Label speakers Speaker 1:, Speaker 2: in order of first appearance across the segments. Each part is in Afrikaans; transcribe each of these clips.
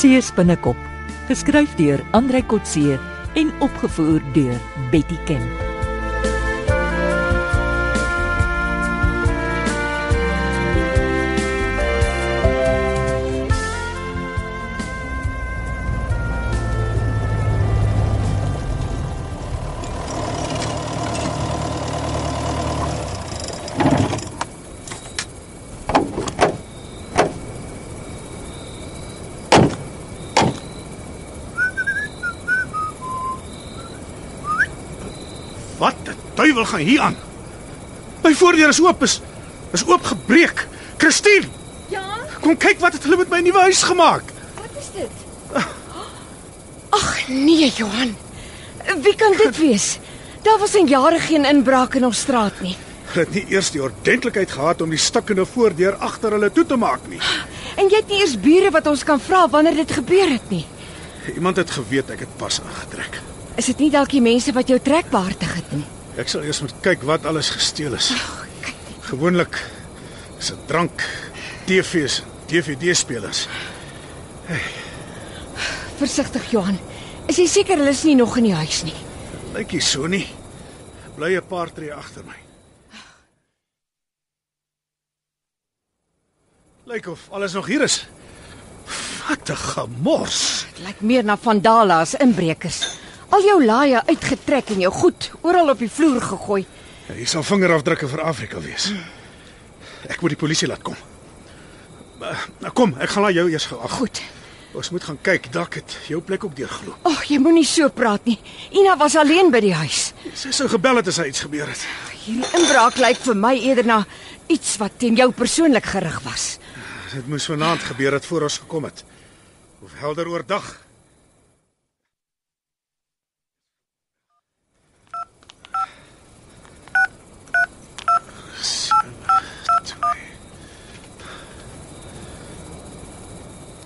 Speaker 1: See se binnekop, geskryf deur Andrei Kotse en opgevoer deur Betty Ken.
Speaker 2: Wat die duiwel gaan hier aan? My voordeur is oop is is oopgebreek. Christine,
Speaker 3: Ja,
Speaker 2: kom kyk wat het hulle met my nuwe huis gemaak.
Speaker 3: wat is dit? Ag nee, Johan. Wie kan dit wees? Daar was in jare geen inbraak in ons straat nie.
Speaker 2: Hulle het nie eers die ordentlikheid gehad om die stukkende voordeur agter hulle toe te maak nie.
Speaker 3: En jy het nie eers bure wat ons kan vra wanneer dit gebeur het nie.
Speaker 2: Iemand het geweet ek het pas ingetrek.
Speaker 3: Is dit nie dalk die mense wat jou trekbaartig het nie?
Speaker 2: Ek sal eers moet kyk wat alles gesteel is. Gewoonlik is dit drank, TV's, DVD-spelers.
Speaker 3: Versigtig, Johan. Is jy seker hulle is nie nog in die huis nie?
Speaker 2: Lyk nie so nie. Bly 'n paar tree agter my. Lyk of alles nog hier is. Wat 'n gemors.
Speaker 3: Dit lyk meer na vandale as inbrekers. Al jou laaie uitgetrek en jou goed oral op die vloer gegooi.
Speaker 2: Ja, Hier sal vingerafdrukke vir Afrika wees. Ek moet die polisie laat kom. Maar, Nou kom, ek gaan laat jou eers geag.
Speaker 3: Goed.
Speaker 2: Ons moet gaan kyk, dalk het jou plek ook deurgeloop.
Speaker 3: Ag, oh, jy moenie so praat nie. Ina was alleen by die huis.
Speaker 2: Sy sou gebel het as hy iets gebeur het.
Speaker 3: Hierdie inbraak lyk vir my eerder na iets wat teen jou persoonlik gerig was.
Speaker 2: Dit moes vanaand gebeur het voor ons gekom het. Of helder oordag.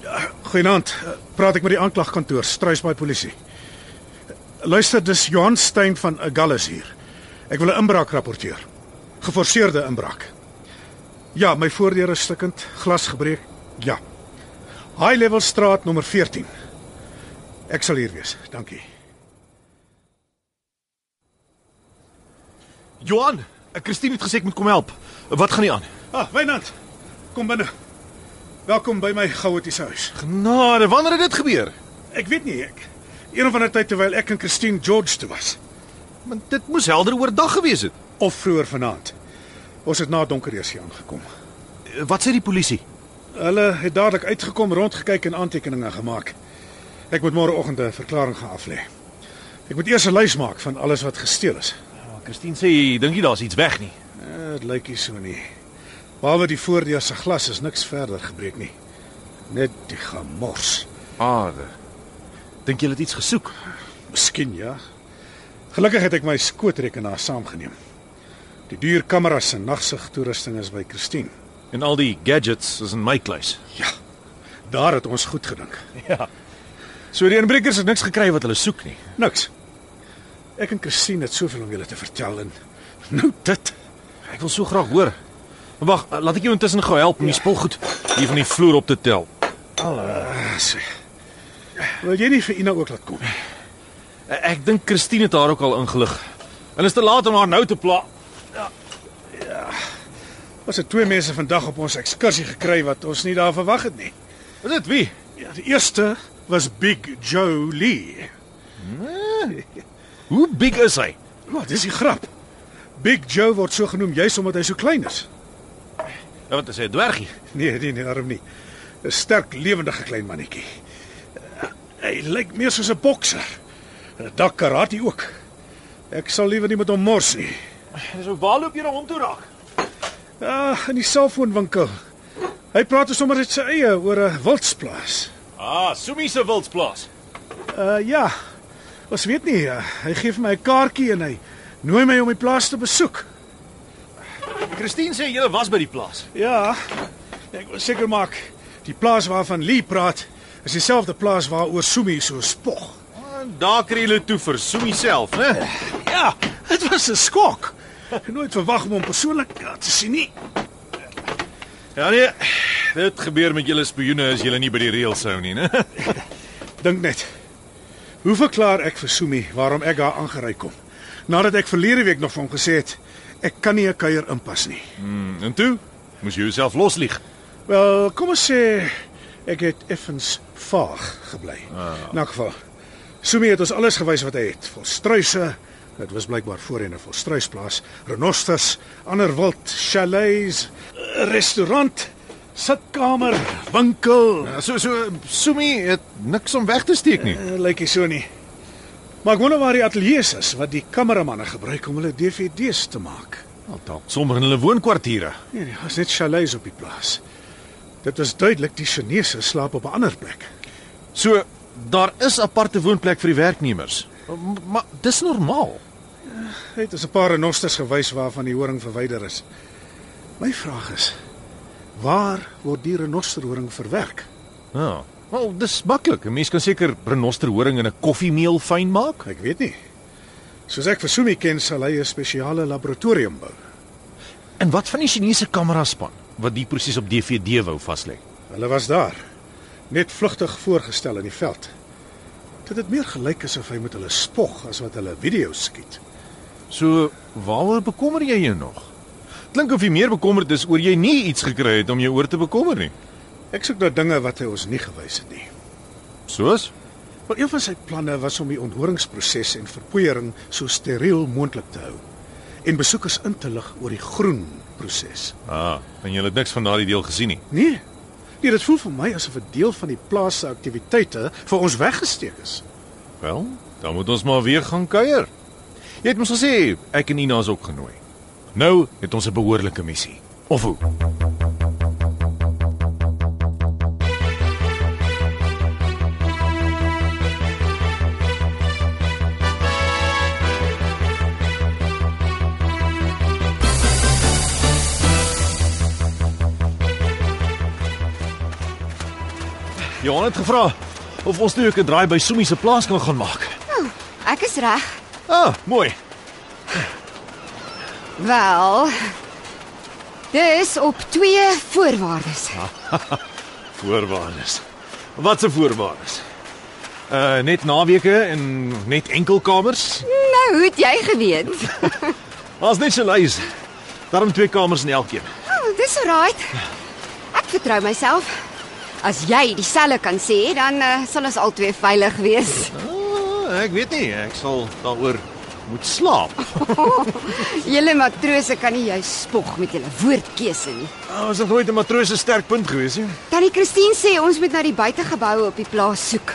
Speaker 2: Ja, Goeienaand. Praat ek met die aanklagkantoor, Struisbaai polisie. Luister, dis Johan Stein van Agulhas hier. Ek wil 'n inbraak rapporteer. Geforseerde inbraak. Ja, my voordeur is stukkend, glas gebreek. Ja. High Level Straat nommer 14. Ek sal hier wees. Dankie.
Speaker 4: Johan, ek Christine het gesê ek moet kom help. Wat gaan nie aan?
Speaker 2: Ah, Wynand. Kom binne. Welkom by my chaotiese huis.
Speaker 4: Genade, wanneer het dit gebeur?
Speaker 2: Ek weet nie ek. Een van die tyd terwyl ek en Christine George toe was
Speaker 4: Want dit moes helder oordag gewees het.
Speaker 2: of vroeër vanaand. Ons het na donker eers hier aangekom.
Speaker 4: Eh, Wat sê die polisie?
Speaker 2: Hulle het dadelik uitgekom, rondgekyk en aantekeninge gemaak. Ek moet môreoggend 'n verklaring gaan aflê. Ek moet eers 'n lys maak van alles wat gesteel is.
Speaker 4: Ja, Christine sê, dink jy daar's iets weg nie?
Speaker 2: Eh, Dit lyk nie so nie. Behalwe die voordeur se glas is niks verder gebreek nie. Net die gemors.
Speaker 4: Aarde. Dink jy hulle het iets gesoek?
Speaker 2: Miskien ja. Gelukkig het ek my skootrekenaar saamgeneem. Die duur kameras en nagsigtoerusting is by Christine.
Speaker 4: En al die gadgets is in my kluis.
Speaker 2: Ja. Daar het ons goed gedink.
Speaker 4: Ja. So die inbrekers het niks gekry wat hulle soek nie.
Speaker 2: Niks. Ek en Christine het soveel om julle te vertel en nou dit.
Speaker 4: Ek wil so graag hoor. Maar Wag, eh, laat ek jou intussen gou help om die spul goed hier van die vloer op te tel.
Speaker 2: Ah, sê. Wil jy nie vir Ina ook laat kom?
Speaker 4: Eh, Ek dink Christine het haar ook al ingelig. En is te laat om haar nou te pla.
Speaker 2: Ons het twee mense vandag op ons ekskursie gekry wat ons nie daar verwag het nie.
Speaker 4: Is dit wie?
Speaker 2: Ja, die eerste was Big Joe Lee.
Speaker 4: Hoe big is hy?
Speaker 2: Wat dis die grap? Big Joe word so genoem juis omdat hy so klein is.
Speaker 4: Ja, wat is hy, 'n dwergie?
Speaker 2: Nee, nee, nee, arm nie. 'n Sterk, lewendige klein mannetjie. Uh, Hy lyk meer soos 'n bokser. En dak karate ook. Ek sal liewer nie met hom mors nie.
Speaker 4: Dis hoe waar loop jy na hom toe raak?
Speaker 2: Ah, in die selfoonwinkel. Hy praat dus sommer net sy eie oor 'n wildsplaas.
Speaker 4: Ah, Sumi se wildsplaas.
Speaker 2: Uh ja. Ons weet nie. Uh, hy gee vir my 'n kaartjie en hy nooi my om die plaas te besoek.
Speaker 4: Christine sê jy was by die plaas.
Speaker 2: Ja. Ek wil seker maak die plaas waarvan Lee praat is dieselfde plaas waaroor Sumi so spog.
Speaker 4: En Ah, daar kry hulle toe vir Sumi self, né?
Speaker 2: Ja, dit was 'n skok. Ek het nooit verwag om hom persoonlik ja, te sien nie.
Speaker 4: Ja nee. Dit gebeur met julle spioene as julle nie by die reëls hou nie, né?
Speaker 2: Dink net. Hoe verklaar ek vir Sumi waarom ek haar aangery kom? Nadat ek verlede week nog vir hom gesê het ek kan nie 'n kuier inpas nie.
Speaker 4: Hmm, En toe moes jy jouself loslieg.
Speaker 2: Wel, kom ons sê ek het effens vaag gebly. In elk geval. Sumi het ons alles gewys wat hy het. Volstruise, dit was blykbaar voorheen 'n volstruisplaas, renosters, ander wild, chalets, 'n restaurant, sitkamer, winkel.
Speaker 4: Ja, So so Sumi het niks om weg te steek nie.
Speaker 2: Uh, Lyk nie so nie. Maar ek wonder waar die ateljee is wat die kameramanne gebruik om hulle DVD's te maak.
Speaker 4: Wel dalk sommer in hulle woonkwartiere.
Speaker 2: Nee, nee, was net chalets op die plaas. Dit was duidelik die Chinese slaap op 'n ander plek.
Speaker 4: So daar is aparte woonplek vir die werknemers. M- Maar dis normaal.
Speaker 2: Hy het ons 'n paar renosters gewys waarvan die horing verwyder is. My vraag is, waar word die renosterhoring verwerk?
Speaker 4: Ja. Wel, dis maklik. 'n Mens kan seker renosterhoring in 'n koffiemeel fyn maak.
Speaker 2: Ek weet nie. Soos ek vir Sumi ken, sal hy 'n spesiale laboratorium bou.
Speaker 4: En wat van die Chinese kameraspan wat die presies op DVD wou vaslê?
Speaker 2: Hulle was daar. Net vlugtig voorgestel in die veld. Dit het meer gelyk asof hy met hulle spog as wat hulle video's skiet.
Speaker 4: So, waaroor bekommer jy jou nog? Klink of jy meer bekommerd is oor jy nie iets gekry het om jou oor te bekommer nie.
Speaker 2: Ek soek na dinge wat hy ons nie gewys het nie.
Speaker 4: Soos?
Speaker 2: Maar een van sy planne was om die onthoringsproses en verpoeiering so steriel moontlik te hou en besoekers in te lig oor die groen proses.
Speaker 4: Ah, en jy het niks van daardie deel gesien nie.
Speaker 2: Nee. Nee, dit voel vir my asof 'n deel van die plaas se aktiwiteite vir ons weggesteek is.
Speaker 4: Wel, dan moet ons maar weer gaan kuier. Jy het mos gesê ek en Ina is ook genooi. Nou het ons 'n behoorlike missie. Of hoe? Johan het gevra of ons nie ook 'n draai by Sumi se plaas kan gaan maak.
Speaker 3: Ek is reg.
Speaker 4: Ah, mooi.
Speaker 3: Wel. Dis op twee voorwaardes.
Speaker 4: Voorwaardes. Wat 'n voorwaardes. Uh net naweke en net enkelkamers.
Speaker 3: Nou, hoe het jy geweet?
Speaker 4: Daar's net chalets. Daarom twee kamers in elkeen.
Speaker 3: Oh, dis alright. Ek vertrou myself. As jy dieselfde kan sê, dan uh, sal ons albei veilig wees.
Speaker 4: Ah, ek weet nie, ek sal daaroor moet slaap.
Speaker 3: Julle matrose kan nie jou spog met julle woordkeuse nie.
Speaker 4: Ah, Ons het nooit 'n matroos se sterkpunt gewees nie.
Speaker 3: Tannie Christine sê ons moet na die buitegeboue op die plaas soek.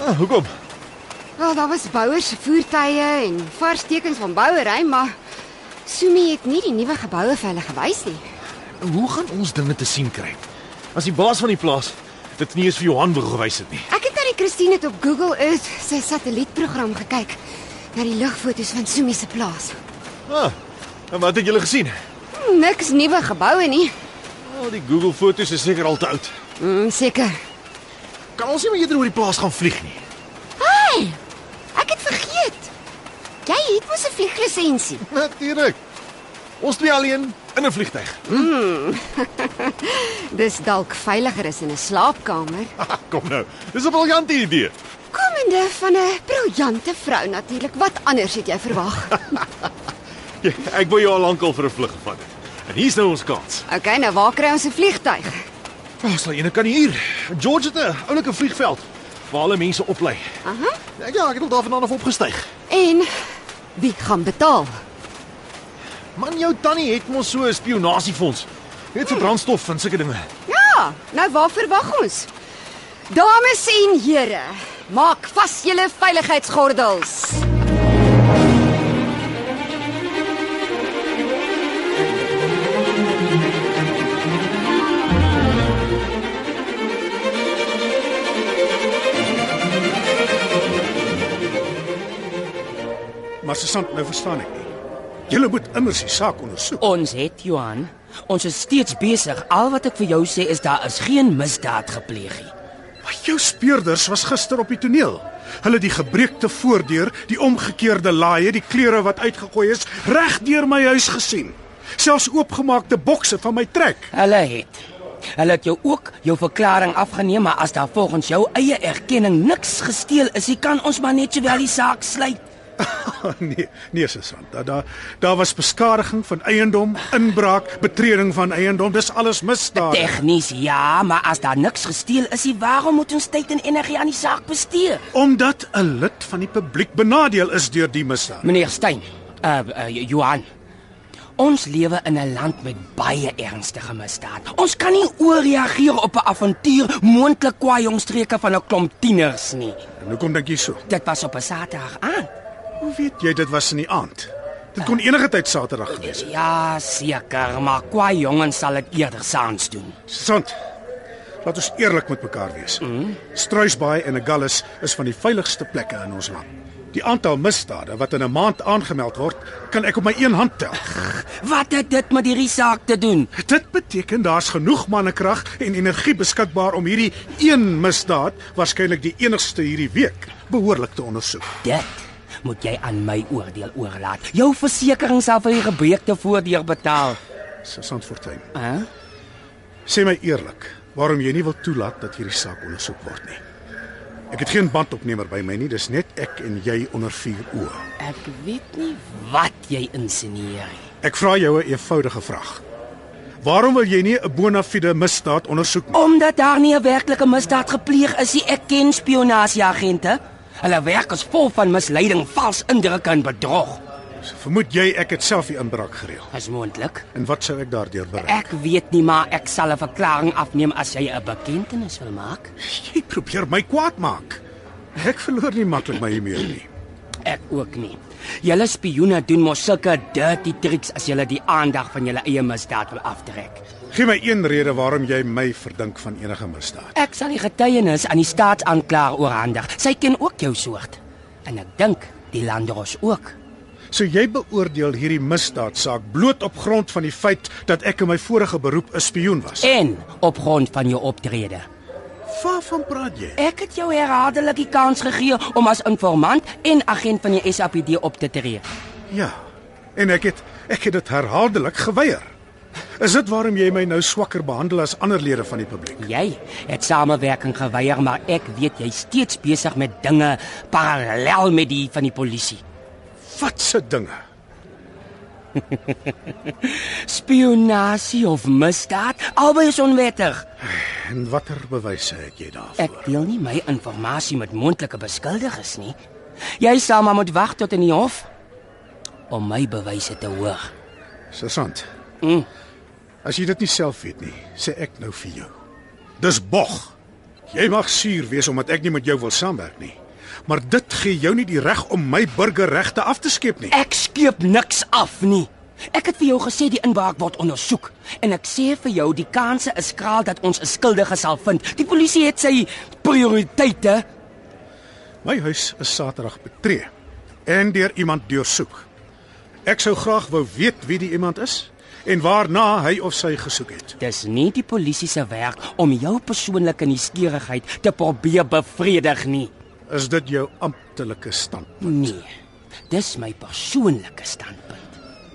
Speaker 4: Ah, hoekom?
Speaker 3: Wel, daar was bouers se voertuie en vars tekens van bouery, maar Sumi het nie die nuwe geboue vir hulle gewys nie.
Speaker 4: Hoe gaan ons dinge te sien kry? As die baas van die plaas dit nie eens vir Johan wou gewys het nie.
Speaker 3: Ek het tannie Christine het op Google Earth sy satellietprogram gekyk na die lugfoto's van Sumi se plaas. Hmm,
Speaker 4: Ah, en wat het julle gesien?
Speaker 3: Niks nuwe geboue nie.
Speaker 4: Al die Google foto's is seker al te oud.
Speaker 3: Mm, seker.
Speaker 4: Kan ons nie meer eerder oor die plaas gaan vlieg nie?
Speaker 3: Hi. Ek het vergeet. Jy het mos 'n vlieglisensie.
Speaker 4: Natuurlik. Ons twee alleen in 'n vliegtyg.
Speaker 3: Dis dalk veiliger as in 'n slaapkamer.
Speaker 4: Kom nou. Dis 'n briljante idee.
Speaker 3: Komende van 'n briljante vrou natuurlik. Wat anders het jy verwag?
Speaker 4: Ja, Ek wou jou al lankal vir 'n vlug gevat het. En hier's nou ons kans.
Speaker 3: Okay, nou waar kry ons 'n vliegtyg?
Speaker 4: Ons sal eene kan hier. George het 'n oulike vliegveld waar hulle mense oplei.
Speaker 3: Aha.
Speaker 4: Ja, ja, ek het al daarvandaan af opgestyg.
Speaker 3: En wie gaan betaal?
Speaker 4: Man, jou tannie het mos so 'n spionasiefonds. Net vir brandstof en sulke dinge.
Speaker 3: Ja, nou waar verwag ons? Dames en here, maak vas julle veiligheidsgordels.
Speaker 2: Maar Susan, nou verstaan ek nie. Julle moet immers die saak ondersoek.
Speaker 1: Oh.
Speaker 5: Ons het Johan. Ons is steeds besig. Al wat ek vir jou sê is daar is geen misdaad gepleeg nie.
Speaker 2: Maar jou speurders was gister op die toneel. Hulle het die gebreekte voordeur, die omgekeerde laaie, die klere wat uitgegooi is, reg deur my huis gesien. Selfs oopgemaakte bokse van my trek.
Speaker 5: Hulle het. Hulle het jou ook jou verklaring afgeneem, maar as daar volgens jou eie erkenning niks gesteel is, jy kan ons maar net sowel die saak sluit.
Speaker 2: nee, nee Susan, daar daar daar was beskadiging van eiendom, inbraak, betreding van eiendom, dis alles misdaad.
Speaker 5: Tegnies ja, maar as daar niks gesteel is, nie, waarom moet ons tyd en energie aan die saak bestee?
Speaker 2: Omdat 'n lid van die publiek benadeel is deur die misdaad.
Speaker 5: Meneer Stein, uh, uh Johan. Ons lewe in 'n land met baie ernstige misdaad. Ons kan nie ooreageer op 'n avontuur moontlik kwaai jongstreke van 'n klomp tieners nie.
Speaker 2: En hoekom dink jy so?
Speaker 5: Dit was op 'n Saterdag aan.
Speaker 2: Hoe weet jy dit was in die aand? Dit kon enige tyd Saterdag gewees het.
Speaker 5: Ja, seker, maar kwaai jongens sal dit eerder saans doen.
Speaker 2: Sant. Laat ons eerlik met mekaar wees. Struisbaai en Agulhas is van die veiligste plekke in ons land. Die aantal misdade wat in 'n maand aangemeld word, kan ek op my een hand tel.
Speaker 5: Wat het dit met hierdie saak te doen?
Speaker 2: Dit beteken daar's genoeg mannekrag en energie beskikbaar om hierdie een misdaad, waarskynlik die enigste hierdie week, behoorlik te ondersoek.
Speaker 5: Dit moet jy aan my oordeel oorlaat. Jou versekerings sal vir die gebreekte voordeur betaal.
Speaker 2: Susan Fortuin,
Speaker 5: Hæ?
Speaker 2: sê my eerlik, waarom jy nie wil toelaat dat hierdie saak ondersoek word nie. Ek het geen bandopnemer by my nie, dis net ek en jy onder vier oë.
Speaker 5: Ek weet nie wat jy insinieer nie.
Speaker 2: Ek vra jou 'n eenvoudige vraag. Waarom wil jy nie 'n bona fide misdaad ondersoek nie?
Speaker 5: Omdat daar nie 'n werklike misdaad gepleeg is nie, ek ken spionasieagente. Hulle werk is vol van misleiding, vals indrukke en bedrog.
Speaker 2: Vermoed jy ek het self die inbraak gereël?
Speaker 5: Is moontlik.
Speaker 2: En wat sou ek daardeur bereik?
Speaker 5: Ek weet nie, maar ek sal 'n verklaring afneem as jy 'n bekentenis wil maak.
Speaker 2: Jy probeer my kwaad maak. Ek verloor nie maklik my humeur nie.
Speaker 5: Ek ook nie. Julle spioene doen mos sulke dirty tricks as julle die aandag van julle eie misdaad wil aftrek.
Speaker 2: Gee my een rede waarom jy my verdink van enige misdaad.
Speaker 5: Ek sal die getuienis aan die staatsaanklaer oorhandig. Sy ken ook jou soort. En ek dink die landros ook.
Speaker 2: So jy beoordeel hierdie misdaadsaak bloot op grond van die feit dat ek in my vorige beroep 'n spioen was.
Speaker 5: En op grond van jou optrede.
Speaker 2: Waarvan praat jy?
Speaker 5: Ek het jou herhaaldelik die kans gegee om as informant en agent van die SAPD op te tree.
Speaker 2: Ja. En ek het ek het dit herhaaldelik geweier. Is dit waarom jy my nou swakker behandel as ander lede van die publiek?
Speaker 5: Jy het samewerking geweier, maar ek weet jy's steeds besig met dinge parallel met die van die polisie.
Speaker 2: Wat se dinge?
Speaker 5: Spionasie of misdaad, albei is onwettig.
Speaker 2: En watter bewyse het jy daarvoor?
Speaker 5: Ek deel nie my inligting met moontlike beskuldiges nie. Jy sal maar moet wag tot in die hof om my bewyse te hoor.
Speaker 2: Sussant.
Speaker 5: Mm.
Speaker 2: As jy dit nie self weet nie, sê ek nou vir jou. Dis bog. Jy mag suur wees omdat ek nie met jou wil saamwerk nie. Maar dit gee jou nie die reg om my burgerregte af te skep nie.
Speaker 5: Ek skeep niks af nie. Ek het vir jou gesê die inbraak word ondersoek en ek sê vir jou die kanse is skraal dat ons 'n skuldige sal vind. Die polisie het sy prioriteite.
Speaker 2: My huis is Saterdag betree en deur iemand deursoek. Ek sou graag wou weet wie die iemand is en waarna hy of sy gesoek het.
Speaker 5: Dis nie die polisie se werk om jou persoonlike nuuskierigheid te probeer bevredig nie.
Speaker 2: Is dit jou amptelike stand?
Speaker 5: Nee. Dis my persoonlike standpunt.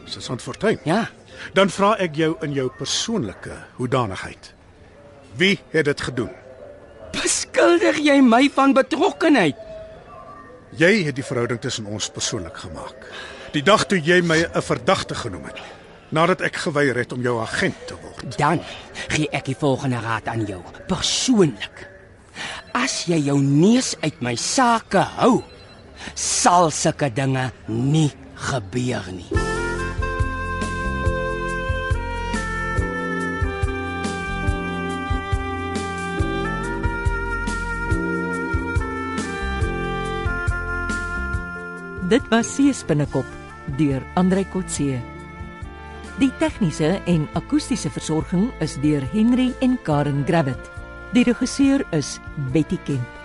Speaker 2: Susan Fortuin.
Speaker 5: Ja.
Speaker 2: Dan vra ek jou in jou persoonlike hoedanigheid. Wie het dit gedoen?
Speaker 5: Beskuldig jy my van betrokkeheid?
Speaker 2: Jy het die verhouding tussen ons persoonlik gemaak. Die dag toe jy my 'n verdagte genoem het, nadat ek geweier het om jou agent te word.
Speaker 5: Dan gee ek die volgende raad aan jou, persoonlik. As jy jou neus uit my sake hou, sal sulke dinge nie gebeur nie.
Speaker 1: Dit was Sees binnekop deur Andrei Kotse. Die tegniese en akoestiese versorging is deur Henry en Karen Gravett. Die regisseur is Betty Kemp.